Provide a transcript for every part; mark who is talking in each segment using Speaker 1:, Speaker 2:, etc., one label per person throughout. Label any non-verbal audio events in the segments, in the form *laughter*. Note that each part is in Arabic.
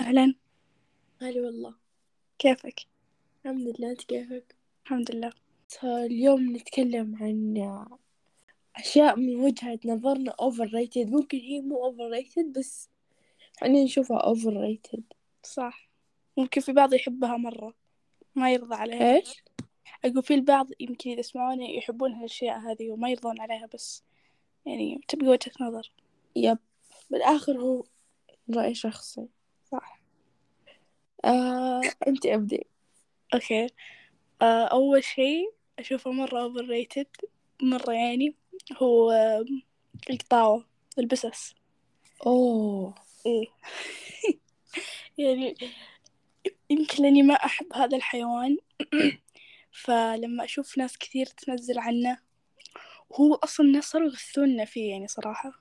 Speaker 1: أهلا
Speaker 2: هلا والله
Speaker 1: كيفك؟
Speaker 2: الحمد لله انت كيفك
Speaker 1: الحمد لله
Speaker 2: اليوم نتكلم عن اشياء من وجهة نظرنا اوفر ريتد ممكن هي مو اوفر ريتد بس احنا نشوفها اوفر ريتد
Speaker 1: صح ممكن في بعض يحبها مرة ما يرضى عليها
Speaker 2: ايش
Speaker 1: أقول في البعض يمكن إذا سمعوني يحبون هالأشياء هذه وما يرضون عليها بس يعني تبقى وجهة نظر
Speaker 2: يب بالاخر هو رأي شخصي
Speaker 1: صح
Speaker 2: آه، انت ابدي
Speaker 1: أوكي آه، أول شيء أشوفه مرة أوفر ريتد مرة يعني هو آه، القطاوة البسس
Speaker 2: اوه
Speaker 1: إيه *laughs* يعني يمكن لأني ما أحب هذا الحيوان *clears throat* فلما أشوف ناس كثير تنزل عنه وهو أصلا الناس صاروا يغثوننا فيه يعني صراحة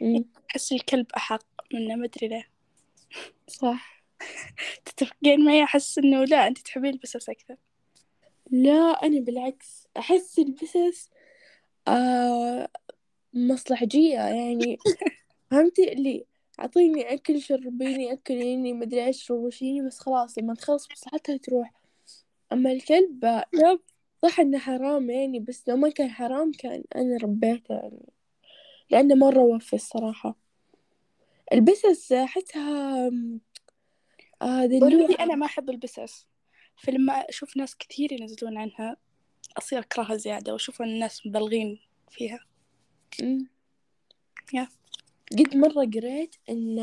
Speaker 2: مم،
Speaker 1: أحس الكلب أحق منه ما أدري ليه *laughs*
Speaker 2: صح
Speaker 1: تتفقين معي أحس إنه لا أنت تحبين البسس أكثر
Speaker 2: لا انا بالعكس احس البسس آه مصلحجية يعني فهمتي اللي اعطيني اكل شربيني يعني اكليني مدري ايش روشيني بس خلاص لما تخلص مصلحتها تروح اما الكلب
Speaker 1: يب
Speaker 2: صح انه حرام يعني بس لو ما كان حرام كان انا ربيته يعني لانه مرة وفي الصراحة البسس احسها آم، آه
Speaker 1: أوريدي
Speaker 2: دلوعة
Speaker 1: أنا ما أحب البسس فلما أشوف ناس كثير ينزلون عنها أصير أكرهها زيادة وأشوف إن الناس مبالغين فيها
Speaker 2: أمم.
Speaker 1: يا.
Speaker 2: قد مرة قريت ان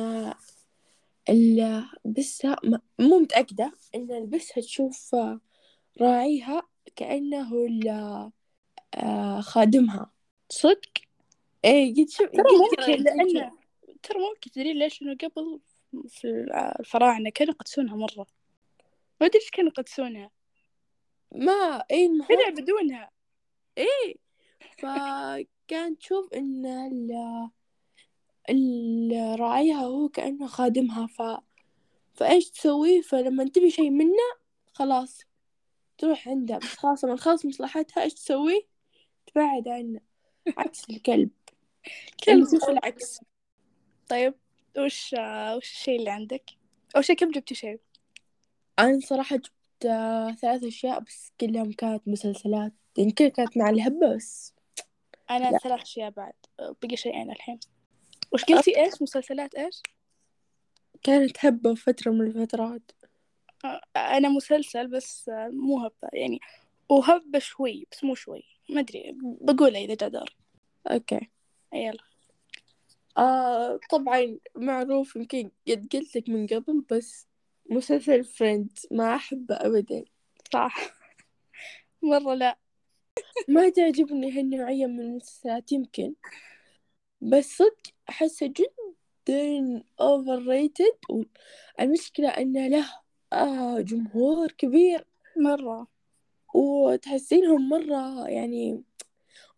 Speaker 2: البسة ما- مو متأكدة إن البسة تشوف راعيها كأنه ال- آه، خادمها
Speaker 1: صدق
Speaker 2: إيه قد شوف
Speaker 1: ترى ممكن لأن ترى ممكن تدري ليش إنه قبل في الع- الفراعنة كانوا يقدسونها مرة ما أدري إيش كانوا يقدسونها
Speaker 2: ما إيه
Speaker 1: كانوا
Speaker 2: المهم
Speaker 1: يعبدونها
Speaker 2: إيه فكان تشوف إن ال- ال- راعيها هو كأنه خادمها ف... فإيش تسوي فلما تبي شيء منه خلاص تروح عنده بس خلاص لما تخلص مصلحتها إيش تسوي تبعد عنه عكس الكلب
Speaker 1: كلب
Speaker 2: نشوف العكس
Speaker 1: طيب وش وش الشيء اللي عندك؟ أول شيء كم جبتي شيء؟
Speaker 2: أنا صراحة جبت آه، ثلاث أشياء بس كلهم كانت مسلسلات يمكن كانت مع الهبة بس
Speaker 1: أنا
Speaker 2: لا.
Speaker 1: ثلاث أشياء بعد بقي شيئين الحين وش قلتي إيش؟ مسلسلات إيش؟
Speaker 2: كانت هبة فترة من الفترات
Speaker 1: آه، أنا مسلسل بس آه، مو هبة يعني وهبة شوي بس مو شوي ما أدري بقولها إذا جا دور
Speaker 2: أوكي
Speaker 1: يلا
Speaker 2: آه طبعا معروف يمكن قد قلت لك من قبل بس مسلسل فريند ما أحبه أبدا
Speaker 1: صح *laughs* مرة لا
Speaker 2: ما تعجبني هالنوعية من المسلسلات يمكن بس صدق أحسه جدا أوفر ريتد والمشكلة أنه له آه جمهور كبير
Speaker 1: مرة
Speaker 2: وتحسينهم مرة يعني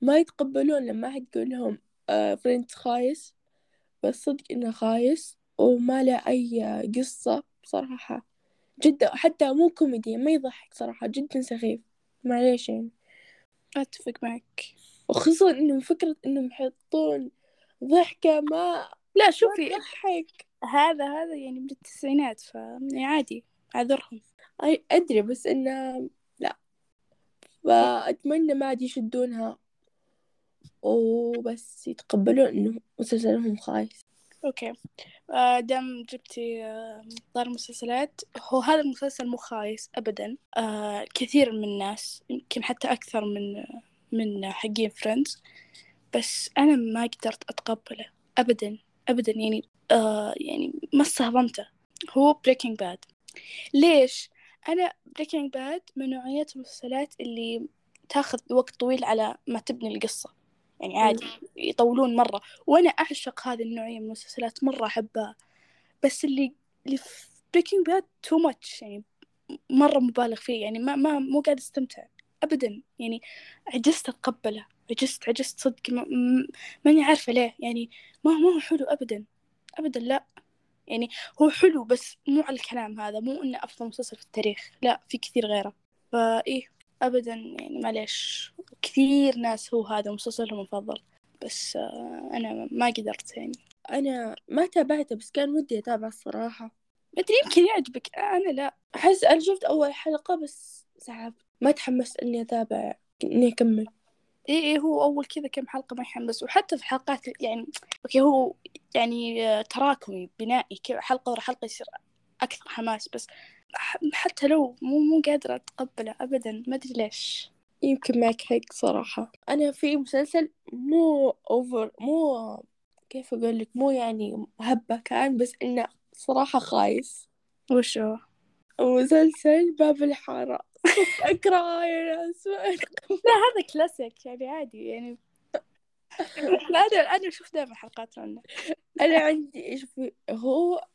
Speaker 2: ما يتقبلون لما أحد يقول لهم آه، فريند خايس بس صدق إنه خايس وما له أي قصة بصراحة جدا حتى مو كوميدي ما يضحك صراحة جدا سخيف معليش يعني
Speaker 1: أتفق معك
Speaker 2: وخصوصا إنه فكرة إنهم يحطون ضحكة ما
Speaker 1: لا
Speaker 2: ما
Speaker 1: شوفي
Speaker 2: تضحك
Speaker 1: هذا هذا يعني من التسعينات ف يعني عادي أعذرهم
Speaker 2: أي أدري بس إنه لا فأتمنى ما عاد يشدونها وبس يتقبلون إنه مسلسلهم خايس
Speaker 1: أوكي آه، دام جبتي آه، طار مسلسلات هو هذا المسلسل مو خايس أبدا آه، كثير من الناس يمكن حتى أكثر من من حقين فريندز بس أنا ما قدرت أتقبله أبدا أبدا يعني آه يعني ما استهضمته هو بريكنج باد ليش؟ أنا بريكنج باد من نوعية المسلسلات اللي تاخذ وقت طويل على ما تبني القصة يعني عادي يطولون مرة وأنا أعشق هذه النوعية من المسلسلات مرة أحبها بس اللي اللي في بريكنج باد تو ماتش يعني مرة مبالغ فيه يعني ما ما مو قاعد استمتع أبدا يعني عجزت أتقبله عجزت عجزت صدق ما- م- ماني عارفة ليه يعني ما ما هو حلو أبدا أبدا لا يعني هو حلو بس مو على الكلام هذا مو إنه أفضل مسلسل في التاريخ لا في كثير غيره فإيه أبدا يعني معليش كثير ناس هو هذا مسلسلهم المفضل بس آه، أنا ما قدرت يعني
Speaker 2: أنا ما تابعته بس كان ودي أتابع الصراحة
Speaker 1: أدري يمكن يعجبك أنا لا
Speaker 2: أحس أنا شفت أول حلقة بس سحبت ما تحمست إني أتابع إني أكمل
Speaker 1: إيه إيه هو أول كذا كم حلقة ما يحمس وحتى في حلقات يعني أوكي هو يعني آه، تراكمي بنائي كذا حلقة ورا حلقة يصير أكثر حماس بس ح- حتى لو مو مو قادرة أتقبله أبدا ما أدري ليش
Speaker 2: يمكن معك حق صراحة أنا في مسلسل مو أوفر مو كيف أقول لك مو يعني هبة كان بس إنه صراحة خايس
Speaker 1: وشو
Speaker 2: مسلسل باب الحارة *laughs* أكره يا ناس
Speaker 1: هذا كلاسيك يعني عادي يعني *laughs* لا أنا أنا أشوف دائما حلقات عنه
Speaker 2: أنا عندي إيش في هو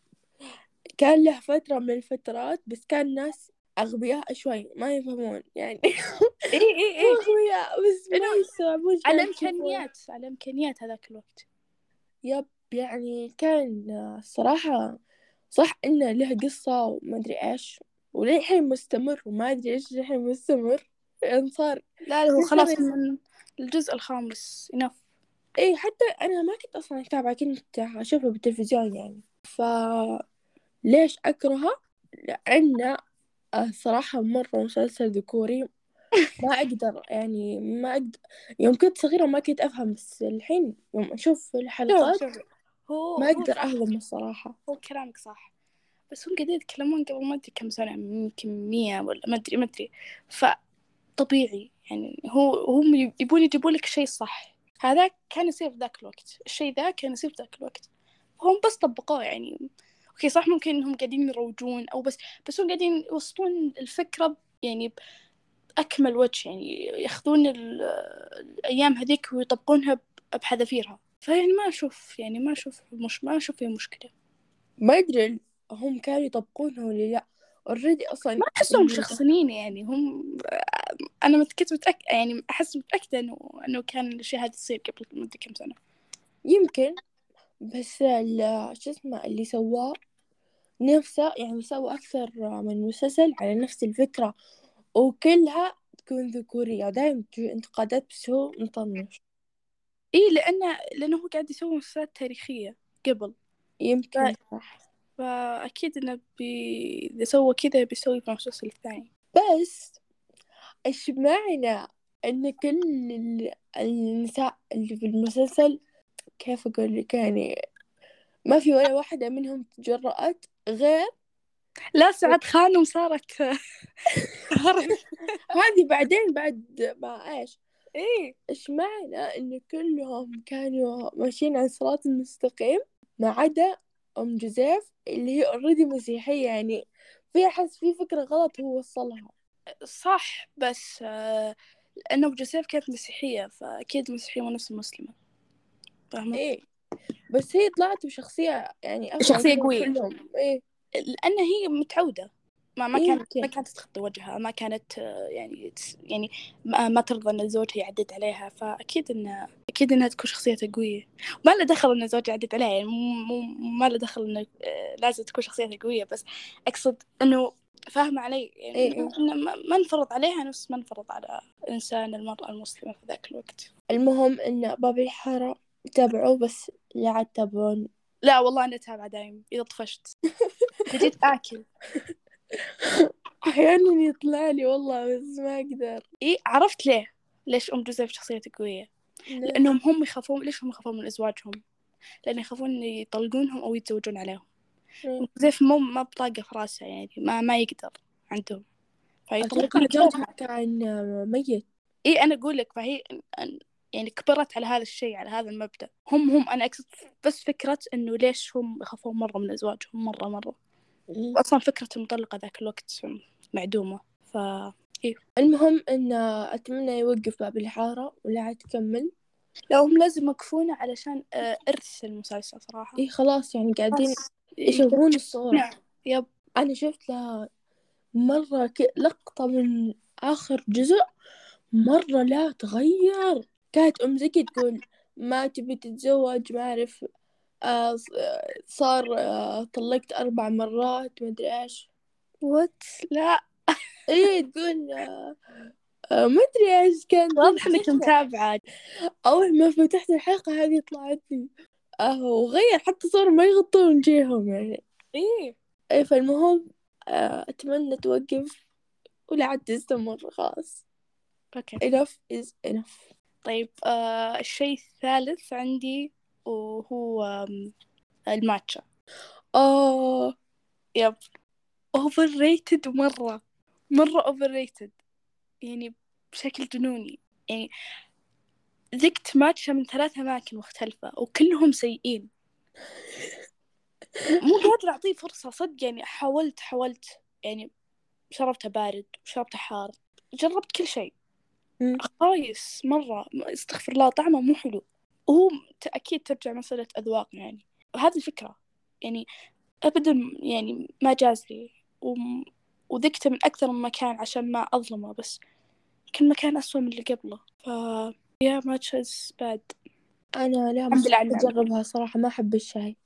Speaker 2: كان له فترة من الفترات بس كان ناس أغبياء شوي ما يفهمون يعني
Speaker 1: إيه إيه
Speaker 2: مو *laughs* أغبياء بس ما يستوعبون شلون
Speaker 1: على
Speaker 2: يشوفون.
Speaker 1: إمكانيات على إمكانيات هذاك الوقت
Speaker 2: يب يعني كان الصراحة صح إنه له قصة وما أدري إيش وللحين مستمر وما أدري إيش للحين مستمر يعني صار
Speaker 1: لا هو خلاص من الجزء الخامس إنف
Speaker 2: إيه حتى أنا ما كنت أصلا أتابعه كنت أشوفه بالتلفزيون يعني فليش أكرهه لأنه الصراحة مرة مسلسل ذكوري ما أقدر يعني ما أقدر يوم كنت صغيرة ما كنت أفهم بس الحين يوم أشوف الحلقات
Speaker 1: هو
Speaker 2: ما
Speaker 1: هو
Speaker 2: أقدر
Speaker 1: صح،
Speaker 2: أهضم الصراحة
Speaker 1: هو كلامك صح بس هم قاعدين يتكلمون قبل ما أدري كم سنة يمكن مية ولا ما أدري ما أدري فطبيعي يعني هو هم يبون يجيبون لك شيء صح هذا كان يصير في ذاك الوقت الشيء ذا كان يصير في ذاك الوقت فهم بس طبقوه يعني اوكي صح ممكن انهم قاعدين يروجون او بس بس هم قاعدين يوصلون الفكره ب- يعني باكمل وجه يعني ياخذون ال- الايام هذيك ويطبقونها ب- بحذافيرها فيعني ما اشوف يعني ما اشوف مش ما اشوف فيه مشكله
Speaker 2: ما ادري هم كانوا يطبقونها ولا لا اوريدي اصلا
Speaker 1: ما احسهم مشخصنين يعني هم انا مت- كنت متأك... يعني احس متاكده انه انه كان الاشياء هذه تصير قبل ما ادري كم سنه
Speaker 2: يمكن بس ال- شو اسمه اللي سواه نفسه يعني سوى اكثر من مسلسل على نفس الفكره وكلها تكون ذكوريه دائما تجي انتقادات بس هو مطنش
Speaker 1: اي لانه لانه هو قاعد يسوي مسلسلات تاريخيه قبل
Speaker 2: يمكن
Speaker 1: طيب.
Speaker 2: صح
Speaker 1: فاكيد انه بي... اذا سوى كذا بيسوي في المسلسل الثاني
Speaker 2: بس ايش معنى ان كل ال- النساء اللي في المسلسل كيف اقول لك يعني ما في ولا واحده منهم تجرأت غير
Speaker 1: لا سعد خانم صارت
Speaker 2: هذه بعدين بعد ما ايش
Speaker 1: اي
Speaker 2: ايش معنى ان كلهم كانوا ماشيين على الصراط المستقيم ما عدا ام جوزيف اللي هي اوريدي مسيحيه يعني في احس في فكره غلط هو وصلها
Speaker 1: صح بس آه، لانه ابو جوزيف كانت مسيحيه فاكيد مسيحيه مو نفس المسلمه فاهمه
Speaker 2: ايه بس هي طلعت بشخصيه يعني أفضل
Speaker 1: شخصية
Speaker 2: من
Speaker 1: قوية.
Speaker 2: كلهم ايه
Speaker 1: لان هي متعوده ما ما
Speaker 2: إيه،
Speaker 1: كانت
Speaker 2: أوكي.
Speaker 1: ما كانت تخطي وجهها ما كانت آه، يعني تس- يعني ما ما ترضى ان زوجها يعدد عليها فاكيد انها اكيد انها تكون شخصيتها قويه ما له دخل ان زوجها يعدد عليها يعني مو مو ما له دخل انه آه، لازم تكون شخصيتها قويه بس اقصد انه فاهمة علي يعني
Speaker 2: إيه، إيه.
Speaker 1: إنه ما ما انفرض عليها نفس ما انفرض على إنسان المرأة المسلمة في ذاك الوقت
Speaker 2: المهم ان باب الحاره تابعوه بس لا عاد تابعون
Speaker 1: لا والله أنا أتابع دايم إذا
Speaker 2: *laughs*
Speaker 1: طفشت إذا جيت آكل
Speaker 2: احيانا يطلع لي والله بس ما اقدر
Speaker 1: إيه عرفت ليه ليش أم جوزيف شخصيتها قوية لانهم هم يخافون ليش هم يخافون من ازواجهم لان يخافون إن يطلقونهم او يتزوجون عليهم
Speaker 2: إيه.
Speaker 1: زيف مو ما بطاقه في راسها يعني ما ما يقدر عندهم
Speaker 2: اتوقع
Speaker 1: فيطلقون
Speaker 2: جوزها
Speaker 1: زوجها
Speaker 2: يعني كان ميت
Speaker 1: اي انا اقول لك فهي أن- يعني كبرت على هذا الشيء على هذا المبدا هم هم انا اقصد بس فكره انه ليش هم يخافون مره من ازواجهم مره مره اصلا فكره المطلقه ذاك الوقت معدومه ف
Speaker 2: المهم ان اتمنى يوقف باب الحاره ولا عاد تكمل
Speaker 1: لو هم لازم يوقفونه علشان آه، ارث المسلسل صراحه
Speaker 2: اي خلاص يعني قاعدين
Speaker 1: بس-
Speaker 2: يشوفون الصورة
Speaker 1: نعم. يب
Speaker 2: انا شفت لها مرة ك... لقطة من اخر جزء مرة لا تغير كانت ام زكي تقول ما تبي تتزوج ما اعرف آه ص- آه، صار آه طلقت اربع مرات ما ادري ايش
Speaker 1: وات لا
Speaker 2: ايه تقول آه آه ما ادري ايش كان
Speaker 1: واضح انك متابعة
Speaker 2: أول ما فتحت الحلقة هذه طلعت لي آه وغير حتى صاروا ما يغطون وجيههم يعني
Speaker 1: ايه
Speaker 2: إيه فالمهم آه، أتمنى توقف ولا عاد تستمر خلاص
Speaker 1: اوكي
Speaker 2: enough is enough
Speaker 1: طيب آه الشيء الثالث عندي وهو آم، الماتشا
Speaker 2: آه
Speaker 1: يب اوفر ريتد مرة مرة اوفر ريتد يعني بشكل جنوني يعني ذقت ماتشا من ثلاث أماكن مختلفة وكلهم سيئين مو قادرة أعطيه فرصة صدق يعني حاولت حاولت يعني شربته بارد وشربته حار جربت كل شيء
Speaker 2: مم.
Speaker 1: خايس مرة ما- استغفر الله طعمه مو حلو وهو ت- أكيد ترجع مسألة أذواق يعني وهذه الفكرة يعني أبدا يعني ما جاز لي وم- وذقته من أكثر من مكان عشان ما أظلمه بس كل مكان أسوأ من اللي قبله ف يا ماتشز باد
Speaker 2: أنا لا
Speaker 1: الحمد لله على النعمة.
Speaker 2: أجربها صراحة ما أحب الشاي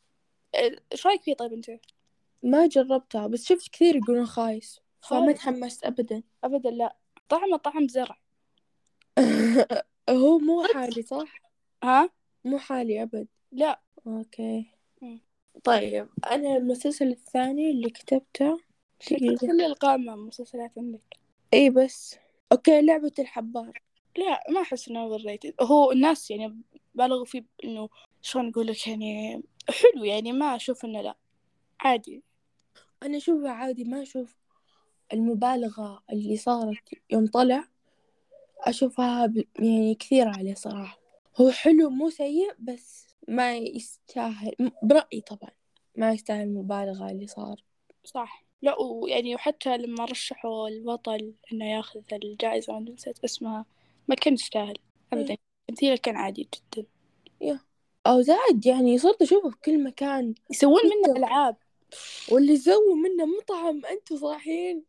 Speaker 1: ايش رايك فيه طيب انت؟
Speaker 2: ما جربتها بس شفت كثير يقولون خايس فما
Speaker 1: خايس.
Speaker 2: تحمست أبدا
Speaker 1: ابدا لا طعمه طعم زرع
Speaker 2: *laughs* هو مو حالي صح؟
Speaker 1: ها؟
Speaker 2: مو حالي أبد
Speaker 1: لا
Speaker 2: أوكي
Speaker 1: مم.
Speaker 2: طيب أنا المسلسل الثاني اللي كتبته دقيقة.
Speaker 1: كل القائمه مسلسلات عندك
Speaker 2: إيه بس أوكي لعبة الحبار
Speaker 1: لا ما احس انه اوفر ريتد هو الناس يعني بالغوا فيه انه شلون اقول لك يعني حلو يعني ما اشوف انه لا عادي
Speaker 2: أنا أشوفه عادي ما أشوف المبالغة اللي صارت يوم طلع أشوفها ب... يعني كثير عليه صراحة هو حلو مو سيء بس ما يستاهل م- برأيي طبعا ما يستاهل المبالغة اللي صار
Speaker 1: صح لا ويعني وحتى لما رشحوا البطل انه ياخذ الجائزه وانا نسيت اسمها ما كان يستاهل ابدا تمثيله كان عادي جدا
Speaker 2: أو زاد يعني صرت أشوفه في كل مكان
Speaker 1: يسوون منه العاب
Speaker 2: واللي سووا منه مطعم انتوا صاحيين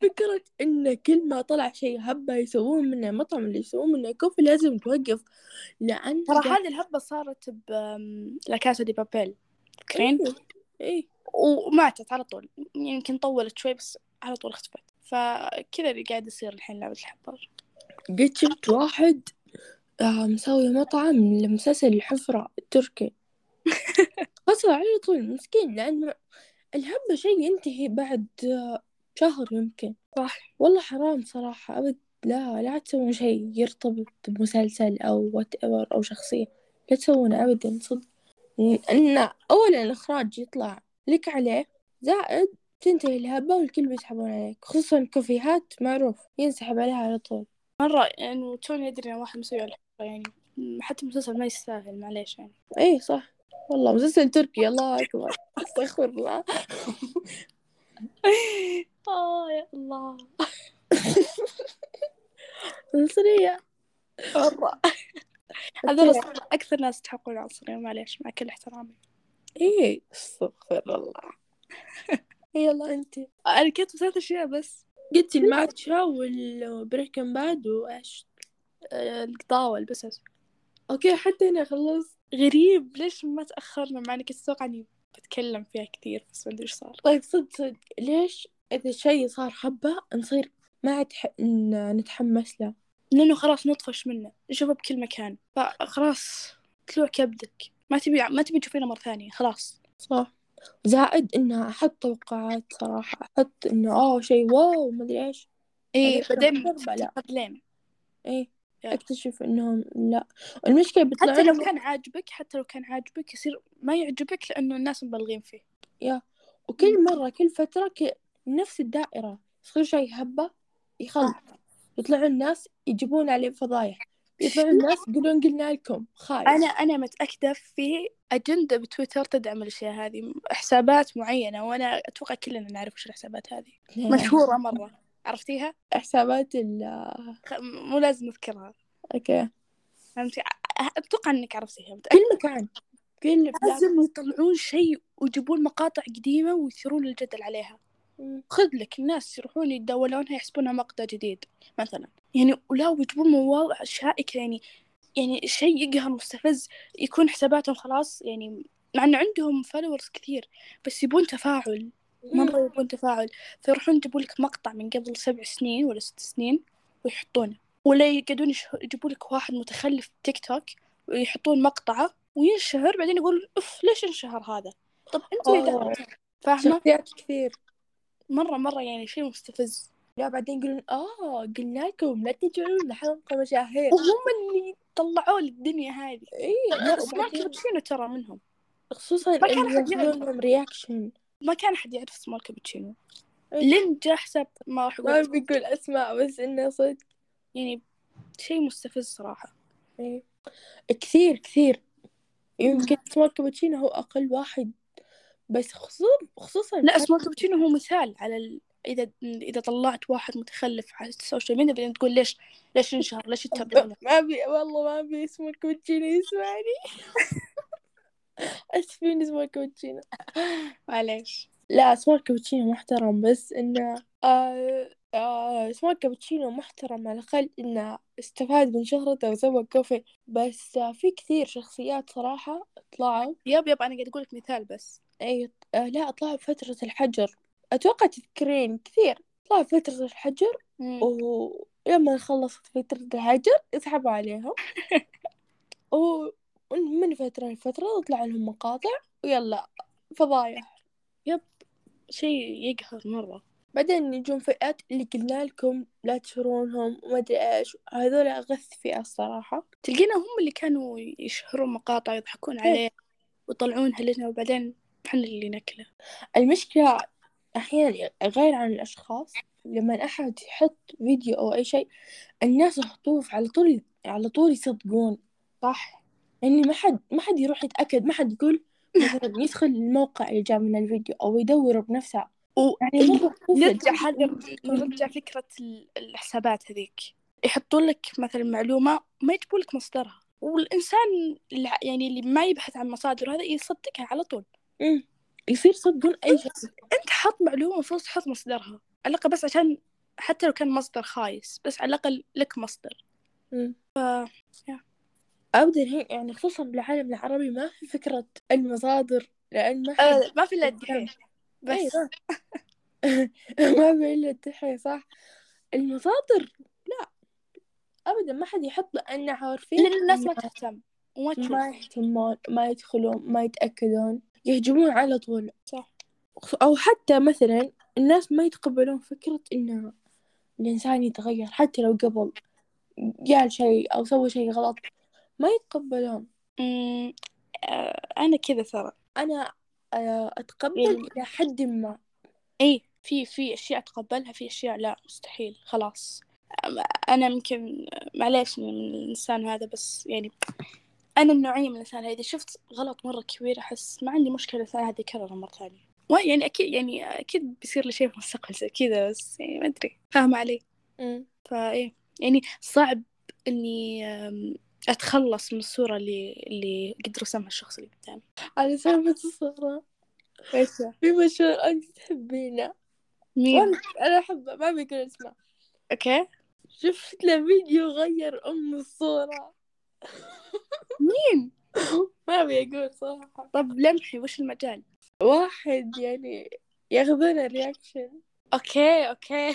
Speaker 2: فكرة إن كل ما طلع شيء هبة يسوون منه مطعم اللي يسوون منه كوفي لازم توقف لأن
Speaker 1: ترى هذه الهبه صارت ب أم، لا كاسا دي بابيل فاكرين؟
Speaker 2: إيه. إيه
Speaker 1: وماتت على طول يمكن طولت شوي بس على طول اختفت فكذا اللي قاعد يصير الحين لعبة الحبار
Speaker 2: قد شفت واحد آه مسوي مطعم لمسلسل الحفرة التركي فصل على طول مسكين لأن الهبة شيء ينتهي بعد آه، شهر يمكن
Speaker 1: صح
Speaker 2: والله حرام صراحة أبد لا لا تسوون شيء يرتبط بمسلسل أو وات ايفر أو شخصية لا تسوونه أبدا صدق لأن أولا الإخراج يطلع لك عليه زائد تنتهي الهبة والكل بيسحبون عليك خصوصا كوفيهات معروف ينسحب عليها على طول
Speaker 1: مرة يعني توني أدري إن واحد مسوي على الحبار يعني م- حتى المسلسل ما يستاهل معليش يعني
Speaker 2: إيه صح والله مسلسل تركي الله أكبر *laughs* استغفر الله
Speaker 1: آه يا الله
Speaker 2: مصرية
Speaker 1: مرة هذول صراحة أكثر ناس يستحقون العنصرية معليش مع كل احترامي
Speaker 2: إيه استغفر الله *laughs* يلا أنت
Speaker 1: أنا كنت ثلاث أشياء بس
Speaker 2: قلت الماتشا والبريكن باد وإيش
Speaker 1: آه، القضاوة البسس
Speaker 2: اوكي حتى انا خلصت
Speaker 1: غريب ليش ما تأخرنا مع إني كنت أتوقع إني بتكلم فيها كثير بس ما أدري إيش صار
Speaker 2: طيب صدق صدق ليش اذا شيء صار حبه نصير ما عاد ح- ن- نتحمس له
Speaker 1: لأنه خلاص نطفش منه نشوفه بكل مكان فخلاص طلوع كبدك ما تبي ما تبي تشوفينه مرة ثانية خلاص
Speaker 2: صح زائد انها احط توقعات صراحه احط انه اوه شيء آه، واو ما ادري ايش
Speaker 1: إيه
Speaker 2: أدخل
Speaker 1: بعدين
Speaker 2: ضربة لا.
Speaker 1: تتقبل لين
Speaker 2: ايه
Speaker 1: يلا.
Speaker 2: اكتشف انهم لا المشكله بيطلع
Speaker 1: حتى لو كان عاجبك حتى لو كان عاجبك يصير ما يعجبك لأنه الناس مبالغين فيه
Speaker 2: وكل مره كل فتره ك... نفس الدائره يصير شيء هبه يخلط
Speaker 1: آه.
Speaker 2: يطلعون الناس يجيبون عليه فضايح يطلعون الناس يقولون قلنا لكم خايف
Speaker 1: أنا أنا متأكدة في أجندة بتويتر تدعم الأشياء هذه حسابات معينة وأنا أتوقع كلنا نعرف وش الحسابات هذه
Speaker 2: إيه.
Speaker 1: مشهورة مرة عرفتيها؟
Speaker 2: *laughs* حسابات ال
Speaker 1: خ- مو لازم أذكرها
Speaker 2: اوكي
Speaker 1: فهمتي؟ أ- أتوقع إنك عرفتيها متأكدة
Speaker 2: كل مكان كل
Speaker 1: لازم يطلعون شيء ويجيبون مقاطع قديمة ويثيرون الجدل عليها خذ لك الناس يروحون يتداولونها يحسبونها مقطع جديد مثلا يعني ولا ويجيبون مواضع شائكة يعني يعني شيء يقهر مستفز يكون حساباتهم خلاص يعني مع انه عندهم فولورز كثير بس يبون تفاعل مرة يبون تفاعل فيروحون يجيبوا لك مقطع من قبل سبع سنين ولا ست سنين ويحطونه ولا يقعدون يش- يجيبوا لك واحد متخلف تيك توك ويحطون مقطعه وينشهر بعدين يقول اوف ليش انشهر هذا طب انت
Speaker 2: أوه.
Speaker 1: قاعدة- فاهمة
Speaker 2: شخصيات كثير
Speaker 1: مرة مرة يعني شيء مستفز
Speaker 2: لا بعدين يقولون اه قلنا لكم لا تجعلون لحالكم مشاهير
Speaker 1: وهم اللي طلعوا للدنيا هذه
Speaker 2: اي
Speaker 1: بس ما
Speaker 2: وبعدين-
Speaker 1: كابتشينو ترى منهم
Speaker 2: خصوصا
Speaker 1: كان
Speaker 2: اللي
Speaker 1: أحد يعرف.
Speaker 2: ياخذون لهم رياكشن
Speaker 1: ما كان أحد يعرف اسمه الكابتشينو
Speaker 2: إيه.
Speaker 1: لين جاء حساب ما راح
Speaker 2: ما
Speaker 1: أقول
Speaker 2: بيقول اسماء بس انه صدق
Speaker 1: يعني شيء مستفز صراحة
Speaker 2: إيه. كثير كثير يمكن سمول كابتشينو هو اقل واحد بس خصوصا خصوصا
Speaker 1: لا اسمه كابتشينو هو مثال على ال... إذا إذا طلعت واحد متخلف على السوشيال ميديا بعدين تقول ليش ليش انشهر ليش تتابعونه
Speaker 2: ما بي والله ما بي اسمه كوتشينو يسمعني *laughs* اسفين اسمه كوتشينو
Speaker 1: معليش
Speaker 2: لا اسمه كوتشينو محترم بس انه آه آه اسمه كابتشينو محترم على الأقل إنه استفاد من شهرته وسوى كوفي بس آه في كثير شخصيات صراحة طلعوا
Speaker 1: ياب ياب أنا قاعد أقول لك مثال بس
Speaker 2: أي آه لا طلعوا بفترة الحجر أتوقع تذكرين كثير طلعوا بفترة الحجر ولما خلصت فترة الهجر اسحبوا عليهم ومن فترة لفترة تطلع لهم مقاطع ويلا فضايح
Speaker 1: شيء يقهر مرة
Speaker 2: بعدين يجون فئات اللي قلنا لكم لا تشهرونهم وما ادري ايش هذول اغث فئة الصراحة
Speaker 1: تلقينا هم اللي كانوا يشهرون مقاطع يضحكون عليه ويطلعونها لنا وبعدين احنا اللي ناكله
Speaker 2: المشكلة احيانا غير عن الاشخاص لما احد يحط فيديو او اي شيء الناس يحطوه على طول على طول يصدقون صح يعني ما حد ما حد يروح يتاكد ما حد يقول مثلا يدخل الموقع اللي جاء من الفيديو او يدور بنفسه يعني
Speaker 1: إيه.
Speaker 2: مرة
Speaker 1: نرجع
Speaker 2: تفرق.
Speaker 1: هذا نرجع فكرة ال- الحسابات هذيك يحطون لك مثلا معلومة ما يجيبوا لك مصدرها والإنسان اللي ع- يعني اللي ما يبحث عن مصادره هذا يصدقها على طول
Speaker 2: أمم. يصير صدقون اي شيء
Speaker 1: أنت حط معلومة المفروض تحط مصدرها على الأقل بس عشان حتى لو كان مصدر خايس بس على الأقل لك مصدر
Speaker 2: أمم.
Speaker 1: يا.
Speaker 2: ابدا هي يعني خصوصا بالعالم العربي ما في فكرة المصادر لان ما حد
Speaker 1: أه ما في إلا الدحيح بس
Speaker 2: *laughs* أيوة. *laughs* ما في الا الدحية صح المصادر لا ابدا ما حد يحط لان عارفين
Speaker 1: لأن الناس ما تهتم وما تشوف
Speaker 2: ما يهتمون ما يدخلون ما يتأكدون يهجمون على طول
Speaker 1: صح.
Speaker 2: أو حتى مثلا الناس ما يتقبلون فكرة إن الإنسان يتغير حتى لو قبل قال شيء أو سوى شيء غلط ما يتقبلون
Speaker 1: أمم، آه، أنا كذا ترى
Speaker 2: أنا آه، أتقبل
Speaker 1: يعني-
Speaker 2: إلى حد ما
Speaker 1: اي إيه، في في اشياء اتقبلها في اشياء لا مستحيل خلاص أم- انا يمكن معليش من الانسان هذا بس يعني انا النوعيه من الانسان هذا اذا شفت غلط مره كبير احس ما عندي مشكله الانسان هذا يكرره مره ثانيه وا- يعني اكيد يعني اكيد بيصير لي شيء في المستقبل زي كذا بس يعني ما ادري فاهمه علي فايه يعني صعب اني أم، اتخلص من الصوره اللي اللي قد رسمها الشخص اللي قدامي
Speaker 2: على سالفة الصورة في مشهور أنت تحبينه
Speaker 1: مين
Speaker 2: وأنا أنا أحبه ما بيقول اسمه
Speaker 1: اوكي
Speaker 2: شفت له فيديو غير أم الصورة
Speaker 1: مين
Speaker 2: *laughs* ما بيقول صراحة
Speaker 1: طب لمحي وش المجال
Speaker 2: واحد يعني ياخذون الرياكشن
Speaker 1: اوكي اوكي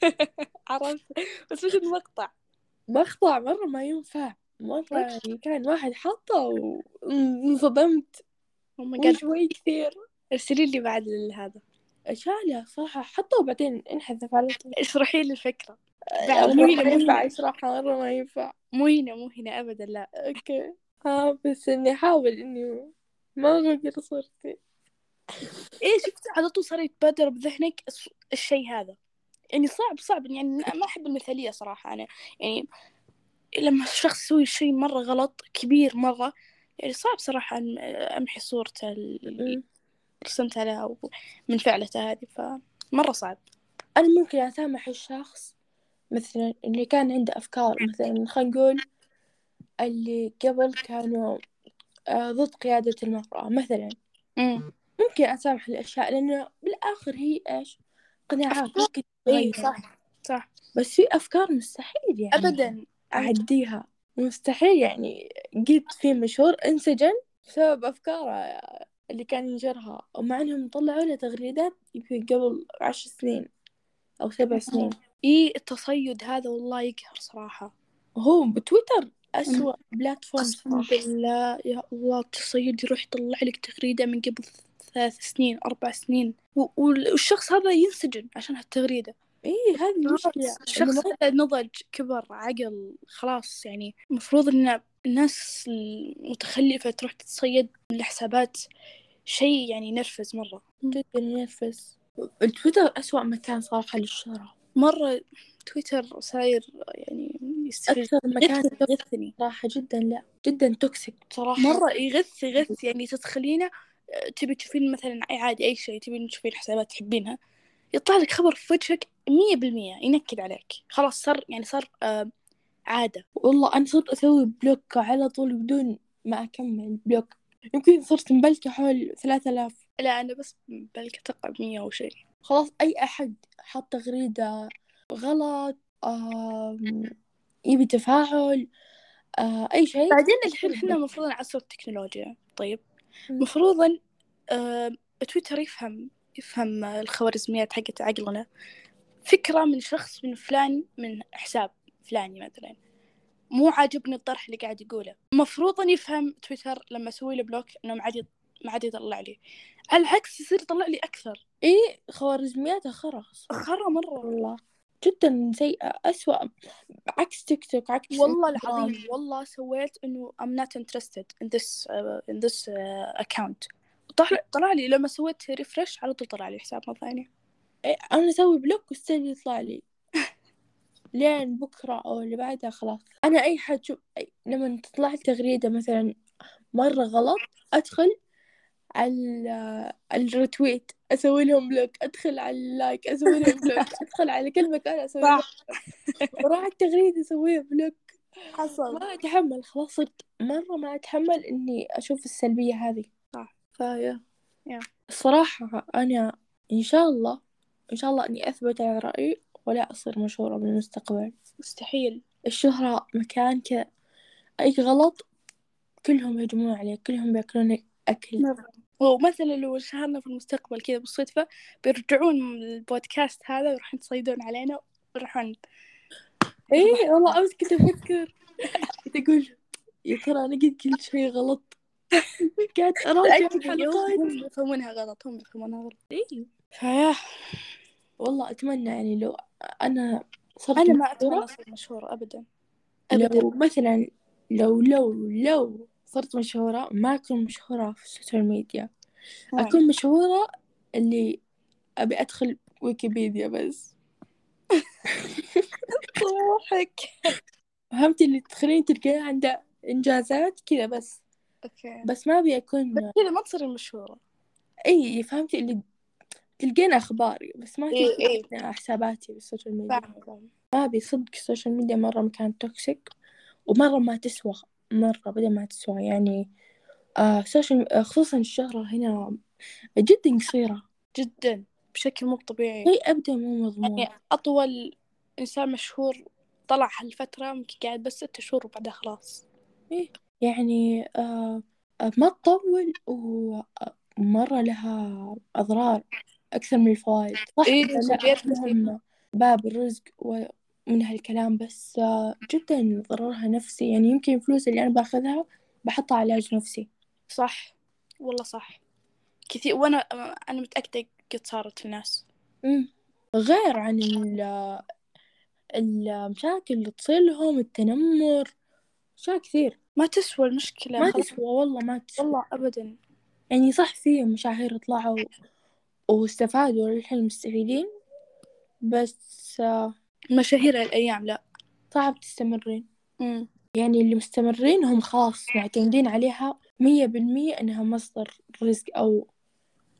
Speaker 1: *laughs* عرفت بس وش المقطع
Speaker 2: مقطع مرة ما ينفع مرة يعني كان واحد حطه وانصدمت
Speaker 1: oh
Speaker 2: وشوي كثير
Speaker 1: ارسلي لي بعد هذا
Speaker 2: شاله صراحة حطه وبعدين انحذف على طول
Speaker 1: اشرحي لي الفكرة بعد
Speaker 2: مرة
Speaker 1: مو هنا
Speaker 2: ما
Speaker 1: مو
Speaker 2: ينفع
Speaker 1: هنا
Speaker 2: اشرحها مرة ما ينفع
Speaker 1: مو هنا مو هنا ابدا لا
Speaker 2: اوكي ها بس اني احاول اني ما اغير صورتي
Speaker 1: ايه شفت على طول صار يتبادر بذهنك الص- الشيء هذا يعني صعب صعب يعني ما احب المثالية صراحة انا يعني لما الشخص يسوي شيء مرة غلط كبير مرة يعني صعب صراحة أن- امحي صورته اللي رسمت عليها أو من فعلته هذه فمرة صعب
Speaker 2: انا ممكن اسامح الشخص مثلا اللي كان عنده افكار مثلا خلينا نقول اللي قبل كانوا آه، ضد قيادة المرأة مثلا
Speaker 1: امم
Speaker 2: ممكن أسامح الأشياء لأنه بالآخر هي إيش قناعات
Speaker 1: أفكار.
Speaker 2: ممكن
Speaker 1: اي
Speaker 2: تتغير
Speaker 1: صح صح
Speaker 2: بس في أفكار مستحيل يعني
Speaker 1: ابدا
Speaker 2: أعديها مستحيل يعني قد في مشهور انسجن بسبب أفكاره اللي كان ينشرها ومع إنهم طلعوا له تغريدات يمكن قبل عشر سنين أو سبع سنين
Speaker 1: اي التصيد هذا والله يقهر صراحه
Speaker 2: وهو بتويتر أسوأ بلاتفورم
Speaker 1: اقسم
Speaker 2: صراحة
Speaker 1: بالله يا الله التصيد يروح يطلع لك تغريده من قبل ثلاث سنين أربع سنين و- والشخص هذا ينسجن عشان هالتغريدة
Speaker 2: اي هذه المشكلة
Speaker 1: الشخص
Speaker 2: إنه
Speaker 1: هذا نضج كبر عقل خلاص يعني المفروض ان الناس المتخلفة تروح تتصيد من الحسابات شيء يعني نرفز مرة
Speaker 2: ما- جدا ينرفز التويتر أسوأ مكان صراحة للشهرة
Speaker 1: مرة تويتر صاير يعني يستفز
Speaker 2: أكثر مكان
Speaker 1: يغثني- يغثني
Speaker 2: صراحة جدا لا جدا توكسيك بصراحة
Speaker 1: مرة يغث يغث يعني تدخلينه آه، تبي تشوفين مثلا أي عادي أي شيء تبي تشوفين حسابات تحبينها يطلع لك خبر في وجهك مية بالمية ينكد عليك خلاص صار يعني صار آه، عادة
Speaker 2: والله أنا صرت أسوي بلوك على طول بدون ما أكمل بلوك يمكن صرت مبلكة حول ثلاثة آلاف
Speaker 1: لا أنا بس بلكي أتوقع مية أو شيء
Speaker 2: خلاص أي أحد حط تغريدة غلط آم، يبي تفاعل آه، أي شيء
Speaker 1: بعدين الحين احنا المفروض عصر التكنولوجيا طيب
Speaker 2: مم.
Speaker 1: مفروضا آه، تويتر يفهم يفهم آه، الخوارزميات حقت عقلنا فكرة من شخص من فلان من حساب فلاني مثلا مو عاجبني الطرح اللي قاعد يقوله مفروضا يفهم تويتر لما اسوي له بلوك انه ما عاد يط- ما عاد يطلع لي على العكس يصير يطلع لي اكثر
Speaker 2: إيه خوارزمياته خرس
Speaker 1: خرا مره
Speaker 2: والله جدا سيئة أسوأ عكس تيك توك عكس
Speaker 1: والله
Speaker 2: إنستغرام.
Speaker 1: العظيم والله سويت انه I'm not interested in this uh, in this uh, account طلع طلع لي لما سويت ريفرش على طول طلع لي حساب مرة ثانية
Speaker 2: إيه، أنا أسوي بلوك والسيل يطلع لي لين بكرة أو اللي بعدها خلاص أنا أي حد شوف أي- لما تطلع لي تغريدة مثلا مرة غلط أدخل على ال- الريتويت أسوي لهم بلوك أدخل على اللايك أسوي لهم بلوك أدخل على كل مكان أسوي لهم بلوك. وراح التغريدة أسويها بلوك
Speaker 1: حصل
Speaker 2: ما أتحمل خلاص صرت مرة ما أتحمل إني أشوف السلبية هذه
Speaker 1: صح.
Speaker 2: فيا
Speaker 1: يا.
Speaker 2: الصراحة أنا إن شاء الله إن شاء الله إني أثبت على رأيي ولا أصير مشهورة بالمستقبل
Speaker 1: مستحيل
Speaker 2: الشهرة مكان كذا أي غلط كلهم يهجمون عليك كلهم بياكلون أكل
Speaker 1: مرة ومثلا لو شهرنا في المستقبل كذا بالصدفة بيرجعون من البودكاست هذا ويروحون يتصيدون علينا ويروحون
Speaker 2: إيه والله أمس كنت أفكر كنت أقول يا ترى أنا قلت كل شيء غلط قاعد أراجع الحلقات
Speaker 1: هم بيفهمونها غلط هم بيفهمونها غلط
Speaker 2: إيه.
Speaker 1: فيا
Speaker 2: والله أتمنى يعني لو أنا صرت
Speaker 1: أنا ما أتمنى
Speaker 2: مشهورة،
Speaker 1: أصير مشهورة أبدا أبدا
Speaker 2: لو مثلا لو لو لو صرت مشهورة ما أكون مشهورة في السوشيال ميديا أكون مشهورة اللي أبي أدخل ويكيبيديا بس
Speaker 1: طموحك
Speaker 2: فهمتي اللي تخليني تلقيها عندها إنجازات كذا بس
Speaker 1: أوكي
Speaker 2: بس ما أبي أكون
Speaker 1: بس كذا ما تصير مشهورة
Speaker 2: أي فهمتي اللي تلقين أخباري بس ما
Speaker 1: إي، *laughs* إي.
Speaker 2: تلقين حساباتي بالسوشيال ميديا
Speaker 1: فاهمة
Speaker 2: ما أبي صدق السوشيال ميديا مرة مكان توكسيك ومرة ما تسوى مرة بدل ما تسوى يعني آه سوشيال آه، خصوصا الشهرة هنا جدا قصيرة
Speaker 1: جدا بشكل مو طبيعي
Speaker 2: شيء أبدا مو مضمون
Speaker 1: يعني أطول إنسان مشهور طلع هالفترة يمكن قاعد بس ست شهور وبعدها خلاص
Speaker 2: يعني آه آه، ما تطول ومرة لها أضرار أكثر من الفوائد صح
Speaker 1: إيه،
Speaker 2: لا،
Speaker 1: سلبيات كثير.
Speaker 2: مهمة. باب الرزق ومن هالكلام بس آه جدا ضررها نفسي يعني يمكن الفلوس اللي أنا باخذها بحطها علاج نفسي
Speaker 1: صح والله صح كثير وأنا أنا متأكدة قد صارت في ناس
Speaker 2: مم. غير عن ال- المشاكل اللي تصير لهم التنمر أشياء كثير
Speaker 1: ما تسوى المشكلة
Speaker 2: ما
Speaker 1: خلاص.
Speaker 2: تسوى والله ما تسوى
Speaker 1: والله أبدا
Speaker 2: يعني صح في مشاهير طلعوا واستفادوا للحين مستفيدين بس آه،
Speaker 1: مشاهير الأيام لا
Speaker 2: صعب تستمرين
Speaker 1: مم.
Speaker 2: يعني اللي مستمرين هم خلاص معتمدين عليها مية بالمية إنها مصدر رزق أو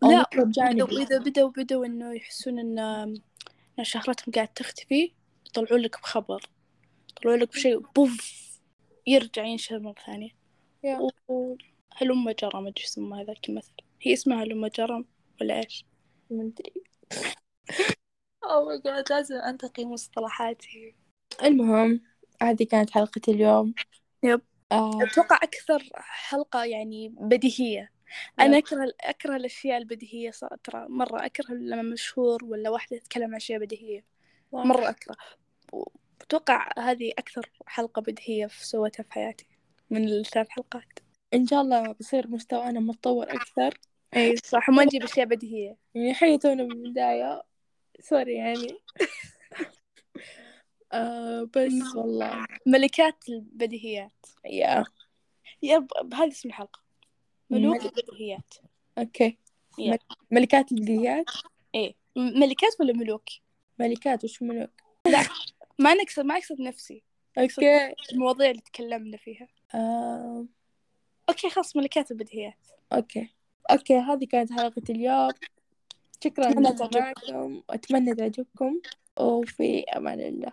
Speaker 2: أو
Speaker 1: لا، يعني
Speaker 2: مطلب جانبي
Speaker 1: وإذا بدوا بدوا إنه يحسون إن إن شهرتهم قاعد تختفي يطلعوا لك بخبر يطلعوا لك بشيء بوف يرجع ينشهر مرة ثانية
Speaker 2: يا.
Speaker 1: و- و- هلم جرم أدري إيش اسمها ذاك المثل هي اسمها هلم جرم ولا إيش؟
Speaker 2: ما أدري
Speaker 1: أو ماي جاد Oh لازم أنتقي مصطلحاتي
Speaker 2: المهم هذه كانت حلقة اليوم
Speaker 1: يب.
Speaker 2: آه
Speaker 1: أتوقع أكثر حلقة يعني بديهية أنا أكره أكره الأشياء البديهية ص- ترى مرة أكره لما مشهور ولا واحدة تتكلم عن أشياء بديهية مرة أكره وأتوقع هذه أكثر حلقة بديهية في سويتها في حياتي من الثلاث حلقات
Speaker 2: إن شاء الله بصير مستوانا متطور أكثر
Speaker 1: *laughs* اي صح وما نجيب اشياء بديهيه
Speaker 2: يعني حي تونا من البداية سوري يعني *laughs* آه بس والله
Speaker 1: ملكات البديهيات
Speaker 2: يا
Speaker 1: يب هذا اسم الحلقه ملوك البديهيات
Speaker 2: اوكي
Speaker 1: يا.
Speaker 2: مل- ملكات البديهيات
Speaker 1: اي م- ملكات ولا ملوك
Speaker 2: ملكات وش ملوك
Speaker 1: ما نقصد ما اقصد نفسي
Speaker 2: اوكي
Speaker 1: المواضيع اللي تكلمنا فيها
Speaker 2: آه
Speaker 1: اوكي خلاص ملكات البديهيات
Speaker 2: اوكي اوكي هذه كانت حلقة اليوم شكرا
Speaker 1: أتمنى
Speaker 2: لكم اتمنى تعجبكم وفي امان الله